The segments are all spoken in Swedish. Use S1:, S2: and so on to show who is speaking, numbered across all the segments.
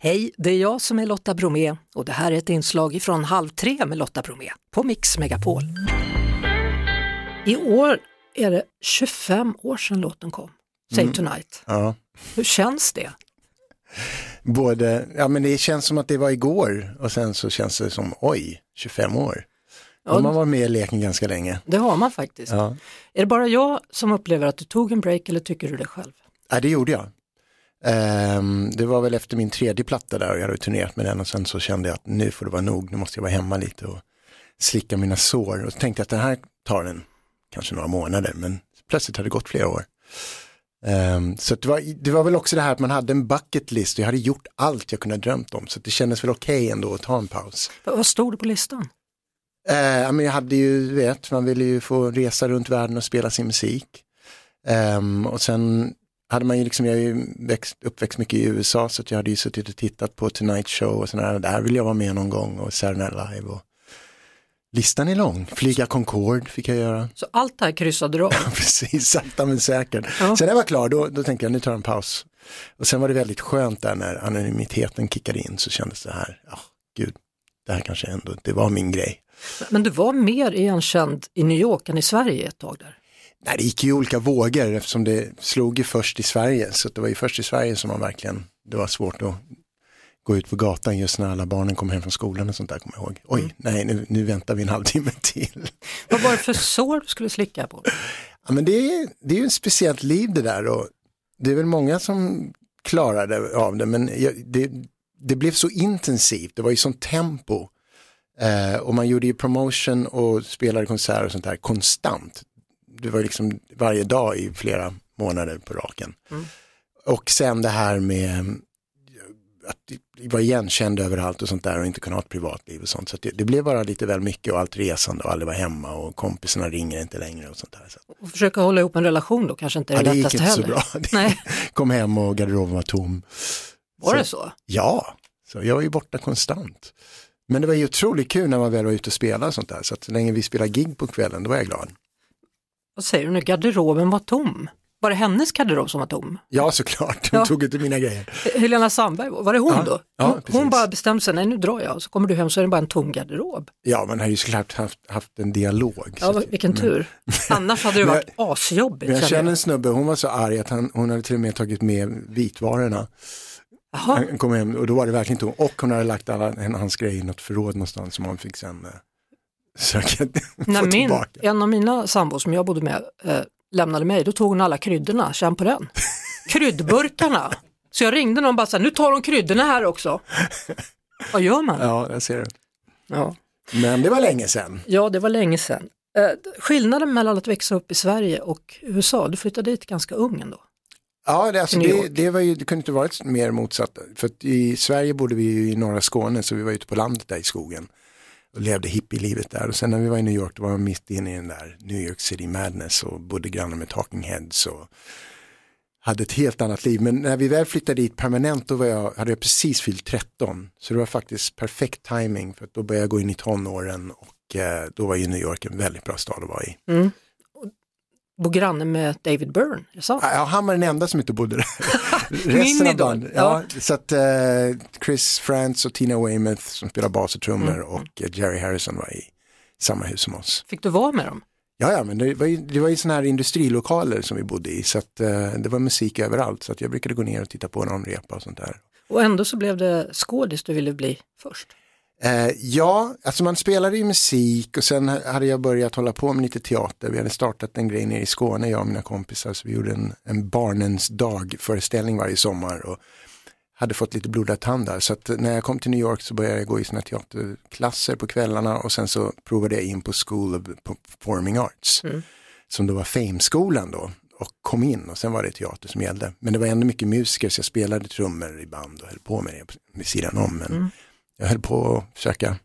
S1: Hej, det är jag som är Lotta Bromé och det här är ett inslag från Halv tre med Lotta Bromé på Mix Megapol. I år är det 25 år sedan låten kom, Say
S2: Mm.
S1: Tonight.
S2: Ja.
S1: Hur känns det?
S2: Både, ja men det känns som att det var igår och sen så känns det som oj, 25 år. Då
S1: Ja.
S2: har man varit med i leken ganska länge.
S1: Det har man faktiskt.
S2: Ja.
S1: Är det bara jag som upplever att du tog en break eller tycker du det själv?
S2: ja, det gjorde jag. Ehm, det var väl efter min tredje platta där och jag hade turnerat med den och sen så kände jag att nu får det vara nog, nu måste jag vara hemma lite och slicka mina sår. Och så tänkte jag att det här tar en, kanske några månader, men plötsligt hade det gått flera år. Ehm, så att det, var, det var väl också det här att man hade en bucket list och jag hade gjort allt jag kunde ha drömt om, så att det kändes väl okej ändå att ta en paus.
S1: Vad vad stod det på listan?
S2: Eh, ja, men jag hade ju, du vet, man ville ju få resa runt världen och spela sin musik. Ehm, och sen hade man ju liksom, jag är ju växt, uppväxt mycket i USA så att jag hade ju suttit och tittat på Tonight Show och sådär, där vill jag vara med någon gång och Saturday Night Live och listan är lång, flyga Concorde fick jag göra,
S1: Så allt det här kryssade du av.
S2: precis, sakta men säkert.
S1: Ja.
S2: Sen när jag var klar då, då tänkte jag nu tar jag en paus. Och sen var det väldigt skönt där när anonymiteten kickade in så kändes det här, ja gud, det här kanske ändå, det var min grej.
S1: Men du var mer igenkänd i New York än i Sverige ett tag där.
S2: Nej, det gick ju i olika vågor eftersom det slog ju först i Sverige. Så att det var ju först i Sverige som man verkligen, det var svårt att gå ut på gatan just när alla barnen kom hem från skolan och sånt där, kommer jag ihåg. Oj, nej, nu, nu väntar vi en halvtimme till.
S1: Vad var det för sår du skulle slicka på?
S2: Ja, men det är, det är ju ett speciellt liv det där och det är väl många som klarade av det, men jag, det, det blev så intensivt, det var ju sånt tempo. Eh, och man gjorde ju promotion och spelade konserter och sånt där konstant. Det var ju liksom varje dag i flera månader på raken. Och sen det här med eh, att vara igenkänd överallt och sånt där och inte kunna ha ett privatliv och sånt. Så att det, det blev bara lite väl mycket och allt resande och aldrig vara hemma och kompisarna ringer inte längre och sånt där. Så att,
S1: Och försöka hålla ihop en relation då kanske inte är
S2: ja,
S1: det,
S2: det gick
S1: lättaste
S2: inte
S1: heller.
S2: så bra. Det
S1: Nej,
S2: kom hem och garderoben var tom.
S1: var det så?
S2: Ja, så jag var ju borta konstant. Men det var ju otroligt kul när man väl var ute och spelade och sånt där. Så att så länge vi spelade gig på kvällen, då var jag glad.
S1: Vad säger du nu, garderoben var tom? Var det hennes garderob som var tom?
S2: Ja, såklart. De
S1: Ja.
S2: tog inte mina grejer.
S1: Eh, Helena Sandberg, var det hon
S2: Ja,
S1: då?
S2: ja,
S1: Hon, hon
S2: precis.
S1: bara bestämde sig, nej nu drar jag, så kommer du hem så är det bara en tom garderob.
S2: Ja, man har ju såklart haft, haft en dialog.
S1: Ja,
S2: så
S1: vad-
S2: att-
S1: vilken tur. Annars hade det
S2: Mm. Men-
S1: varit asjobbigt.
S2: Men jag
S1: känner
S2: känner en snubbe, hon var så arg att han, hon hade till och med tagit med vitvarorna.
S1: jag. Jaha,
S2: Han kom hem och då var det verkligen tomt. Och hon hade lagt alla en- hans grejer i något förråd någonstans som han fick sen eh, söka
S1: när
S2: få
S1: min,
S2: tillbaka.
S1: en av mina sambos som jag bodde med eh, lämnade mig, då tog hon alla kryddorna, känn på den. Kryddburkarna. Så jag ringde någon och bara så här, nu tar de kryddorna här också. Vad gör man?
S2: Ja, jag ser det.
S1: Ja.
S2: Men det var länge sedan.
S1: Ja, det var länge sedan. Eh, skillnaden mellan att växa upp i Sverige och USA, du flyttade dit ganska ung ändå.
S2: Ja, det, alltså,
S1: Till New York.
S2: det, det, var ju, det kunde inte varit mer motsatt. För att i Sverige bodde vi ju i norra Skåne så vi var ute på landet där i skogen och levde hippielivet där. Och sen när vi var i New York då var vi mitt inne i den där New York City Madness och bodde grannar med Talking Heads och hade ett helt annat liv. Men när vi väl flyttade dit permanent då var jag, hade jag precis fyllt 13. Så det var faktiskt perfekt timing för att då började jag gå in i tonåren och eh, då var ju New York en väldigt bra stad att vara i.
S1: Bo granne med David Byrne, är det sant?
S2: Ja, han var den enda som inte bodde där.
S1: Min
S2: Resten av
S1: idol,
S2: band, ja, så att eh, Chris France och Tina Weymouth som spelar bas och trummor och eh, Jerry Harrison var i samma hus som oss.
S1: Fick du vara med dem?
S2: Ja, ja, men det var ju, det var ju sådana här industrilokaler som vi bodde i så att eh, det var musik överallt så att jag brukade gå ner och titta på när de repa och sånt där.
S1: Och ändå så blev det skådis du ville bli först.
S2: Eh, ja, alltså man spelade ju musik och sen hade jag börjat hålla på med lite teater. Vi hade startat en grej nere i Skåne, jag och mina kompisar, så vi gjorde en, en barnens dag-föreställning varje sommar och hade fått lite blodad tand där. Så att när jag kom till New York så började jag gå i såna teaterklasser på kvällarna och sen så provade jag in på School of Performing Arts, som då var Fame-skolan då och kom in och sen var det teater som gällde. Men det var ändå mycket musiker så jag spelade trummor i band och höll på med det vid sidan om. Men jag höll på att försöka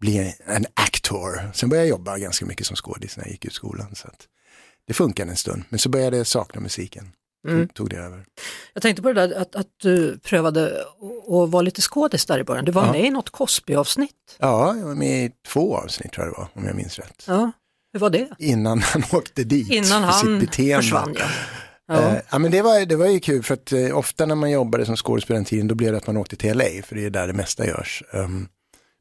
S2: bli en actor. Sen började jag jobba ganska mycket som skådis när jag gick ut skolan. Så att det funkade en stund, men så började jag sakna musiken.
S1: Mm.
S2: Tog- Tog det över.
S1: Jag tänkte på det där att, att du prövade att- att vara lite skådis där i början. Du var med i något Cosby-avsnitt.
S2: Ja, jag var med i två avsnitt tror jag det var, om jag minns rätt.
S1: Ja, hur var det?
S2: Innan han åkte dit
S1: Innan
S2: för sitt
S1: han
S2: beteende.
S1: försvann ja. Ja.
S2: Eh, Ja, men det, var, det var ju kul för att eh, ofta när man jobbade som skådespelare den tiden då blev det att man åkte till LA för det är där det mesta görs. Ehm,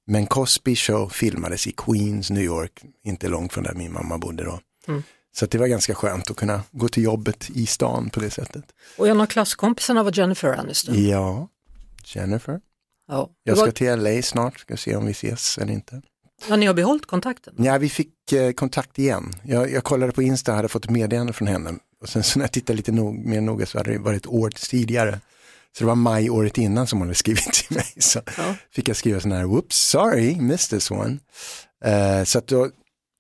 S2: men Cosby show filmades i Queens, New York, inte långt från där min mamma bodde då.
S1: Mm.
S2: Så att det var ganska skönt att kunna gå till jobbet i stan på det sättet.
S1: Och en av klasskompisarna var Jennifer Aniston.
S2: Ja, Jennifer,
S1: Ja. Det
S2: jag ska
S1: var,
S2: till LA snart, ska se om vi ses eller inte.
S1: ja, ni har behållit kontakten.
S2: Ja, vi fick eh, kontakt igen. Jag, jag kollade på Insta och hade fått ett meddelande från henne. Och sen så när jag tittade lite nog, mer noga så hade det varit ett år tidigare. Så det var maj året innan som hon hade skrivit till mig. Så
S1: Ja.
S2: fick jag skriva sån här, whoops, sorry, missed this one. Eh, så att då,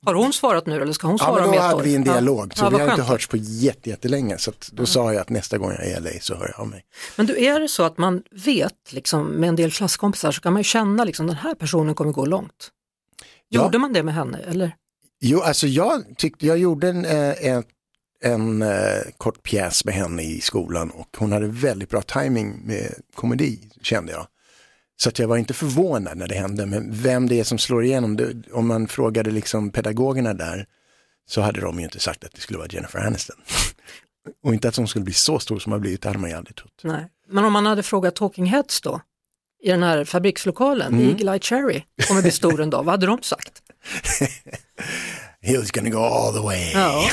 S1: Har hon svarat nu eller ska hon
S2: ja,
S1: svara
S2: men
S1: om
S2: då
S1: ett
S2: hade
S1: år?
S2: vi en dialog.
S1: Ja.
S2: Så
S1: ja,
S2: vi
S1: vad
S2: har inte
S1: skönt. Mm.
S2: hörts på jätte- jättelänge. Så att då sa jag att nästa gång jag är i LA så hör jag av mig.
S1: Men du, är det så att man vet, liksom, med en del klasskompisar, så kan man ju känna liksom, den här personen kommer gå långt?
S2: Ja.
S1: Gjorde man det med henne? Eller?
S2: Jo, alltså jag tyckte, jag gjorde en, eh, en, en eh, kort pjäs med henne i skolan och hon hade väldigt bra timing med komedi, kände jag. Så att jag var inte förvånad när det hände, men vem det är som slår igenom, det, om man frågade liksom pedagogerna där, så hade de ju inte sagt att det skulle vara Jennifer Aniston. och inte att hon skulle bli så stor som hon har blivit, det hade man ju aldrig trott.
S1: Nej. Men om man hade frågat Talking Heads då, i den här fabrikslokalen,
S2: Mm.
S1: Eagle Eye Cherry, kommer bli stor en dag, vad hade de sagt?
S2: He's gonna go all the way.
S1: Ja.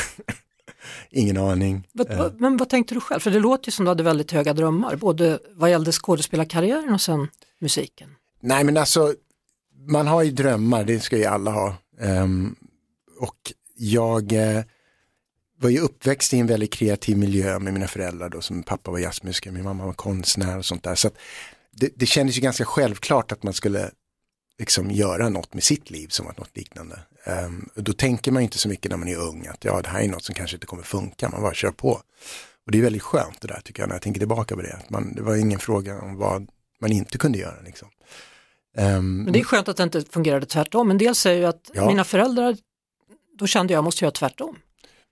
S2: Ingen aning.
S1: Vad- vad- Men vad tänkte du själv? För det låter ju som du hade väldigt höga drömmar, både vad gällde skådespelarkarriären och sen musiken.
S2: Nej men alltså, man har ju drömmar, det ska ju alla ha. Ehm, och jag eh, var ju uppväxt i en väldigt kreativ miljö med mina föräldrar då, som pappa var jazzmusiker, min mamma var konstnär och sånt där. Så att det, det kändes ju ganska självklart att man skulle liksom göra något med sitt liv som var något liknande. Ehm, och då tänker man ju inte så mycket när man är ung att ja, det här är något som kanske inte kommer funka, man bara kör på. Och det är väldigt skönt det där tycker jag när jag tänker tillbaka på det. Att man, det var ingen fråga om vad man inte kunde göra. Liksom. Ehm,
S1: Men det är skönt att det inte fungerade tvärtom. En del säger ju att
S2: Ja.
S1: mina föräldrar, då kände jag att jag måste göra tvärtom.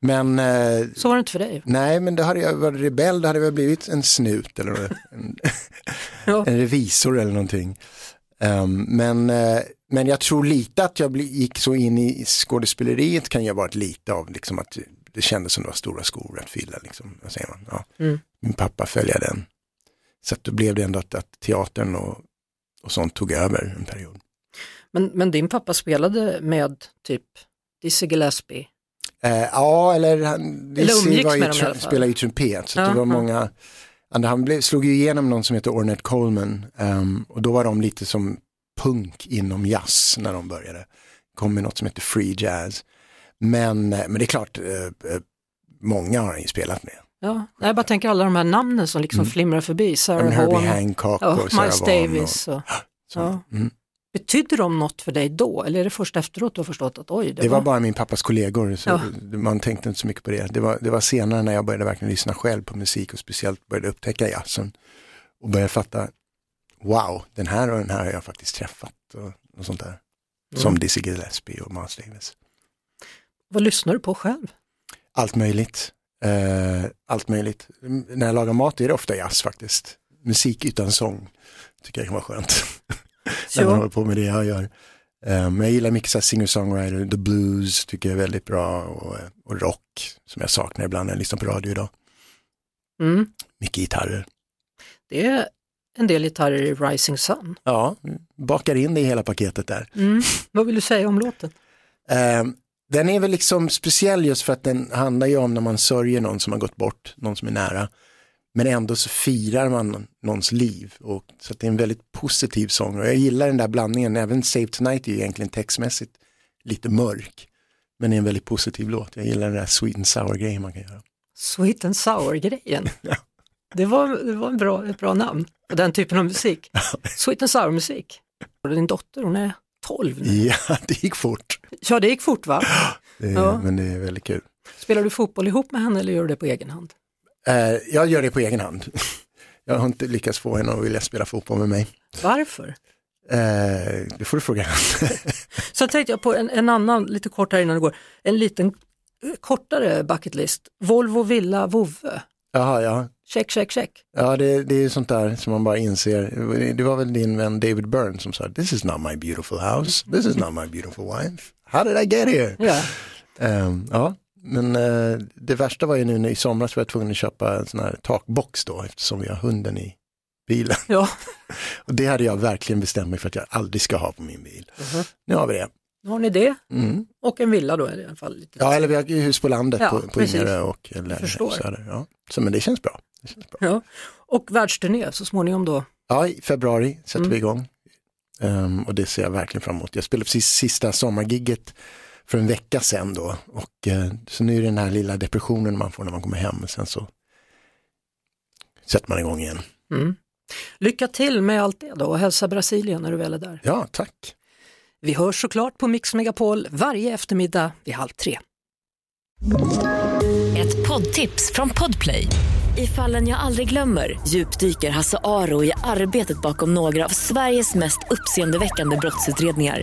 S2: men eh,
S1: Så var det inte för dig.
S2: Nej, men då hade jag varit rebell, då hade jag väl blivit en snut eller en,
S1: Ja.
S2: en revisor eller någonting. Ehm, men, eh, men jag tror lite att jag bli, gick så in i skådespeleriet kan jag varit lite av liksom att det kändes som det var stora skor att fylla. Liksom. Vad säger man? Ja.
S1: Mm.
S2: Min pappa följde den. Så att då blev det ändå att, att teatern och, och sånt tog över en period.
S1: Men, men din pappa spelade med typ Dizzy Gillespie.
S2: Eh, ja, eller han Lizzie
S1: umgicks
S2: var ju,
S1: med dem i alla
S2: tru-
S1: fall.
S2: spelade ju trumpet. Så att
S1: Ja,
S2: det var
S1: ja.
S2: många, andra- han blev, slog ju igenom någon som heter Ornette Coleman. ehm, och då var de lite som punk inom jazz när de började. Kom med något som heter free jazz. Men, eh, men det är klart, eh, eh, många har han ju spelat med.
S1: Ja, jag bara tänker alla de här namnen som liksom flimrar förbi.
S2: Ja, men
S1: Sarah
S2: Mm. Herbie
S1: Vaughan,
S2: Hancock
S1: ja,
S2: och Sarah
S1: Miles
S2: Vaughan
S1: Davis. Och,
S2: Och, sånt. Mm.
S1: betydde de något för dig då? Eller är det först efteråt du har förstått att oj, det,
S2: Det var bara min pappas kollegor, så
S1: Ja.
S2: man tänkte inte så mycket på det. Det var, det var senare när jag började verkligen lyssna själv på musik och speciellt började upptäcka jazzen. Och började fatta, wow, den här och den här har jag faktiskt träffat och, och sånt där.
S1: Mm.
S2: Som Dizzy Gillespie och Miles Davis.
S1: Vad lyssnar du på själv?
S2: Allt möjligt. Eh, allt möjligt. Mm, När jag lagar mat är det ofta jazz faktiskt. Musik utan sång tycker jag kan vara skönt. när man
S1: Så,
S2: håller på med det jag gör. Eh, Men jag gillar mycket så här singer-songwriter, the blues tycker jag är väldigt bra och, och rock som jag saknar ibland när jag lyssnar på radio idag.
S1: mm,
S2: Mycket gitarrer.
S1: det är en del gitarrer i Rising Sun.
S2: Ja, bakar in det i hela paketet där.
S1: Mm. Vad vill du säga om låten?
S2: Eh, Den är väl liksom speciell just för att den handlar ju om när man sörjer någon som har gått bort, någon som är nära. Men ändå så firar man någons liv. Och, så att det är en väldigt positiv sång. Och jag gillar den där blandningen, även Save Tonight är ju egentligen textmässigt lite mörk. Men det är en väldigt positiv låt. Jag gillar den där sweet and sour grejen man kan göra.
S1: Sweet and Sour-grejen. Det var, det var en bra, ett bra namn på den typen av musik. Sweet and Sour-musik. Och Din dotter, hon är 12 nu.
S2: Ja, det gick fort.
S1: Ja, det gick fort va?
S2: Det, är-
S1: Ja.
S2: Men det är väldigt kul.
S1: Spelar du fotboll ihop med henne eller gör du det på egen hand?
S2: Eh, jag gör det på egen hand. Jag har inte lyckats få henne att vilja spela fotboll med mig.
S1: Varför?
S2: Eh, det får du fråga henne.
S1: Sen tänkte jag på en, en annan, lite kort här innan det går, en liten eh, kortare bucket list. Volvo, villa, vovve.
S2: Jaha, ja.
S1: Check, check, check.
S2: Ja, det, det är ju sånt där som man bara inser. Det var väl din vän David Byrne som sa, this is not my beautiful house, this is not my beautiful wife. How did I get here?
S1: Ja.
S2: Ehm, ja, Men eh, det värsta var ju nu när i somras var jag tvungen att köpa en sån här takbox då eftersom vi har hunden i bilen.
S1: Ja.
S2: Och det hade jag verkligen bestämt mig för att jag aldrig ska ha på min bil. Nu har vi det.
S1: Nu har ni det
S2: Mm.
S1: och en villa då är det i alla fall. Lite
S2: Ja, eller vi har ju hus på landet
S1: Ja,
S2: på, på
S1: precis.
S2: Ingarö och eller,
S1: Förstår.
S2: Söder. Ja. Så, men det känns bra. Det känns bra.
S1: Ja. Och världsturné så småningom då.
S2: Ja, i februari sätter
S1: Mm.
S2: vi igång. Ehm, och det ser jag verkligen fram emot. Jag spelade precis sista sommargigget för en vecka sedan då. Och, eh, så nu är det den här lilla depressionen man får när man kommer hem. Och sen så sätter man igång igen.
S1: Mm. Lycka till med allt det då och hälsa Brasilien när du väl är där.
S2: Ja, tack.
S1: Vi hörs såklart på Mix Megapol varje eftermiddag vid halv tre.
S3: Ett poddtips från Podplay. I fallen jag aldrig glömmer djupdyker Hasse Aro i arbetet bakom några av Sveriges mest uppseendeväckande brottsutredningar.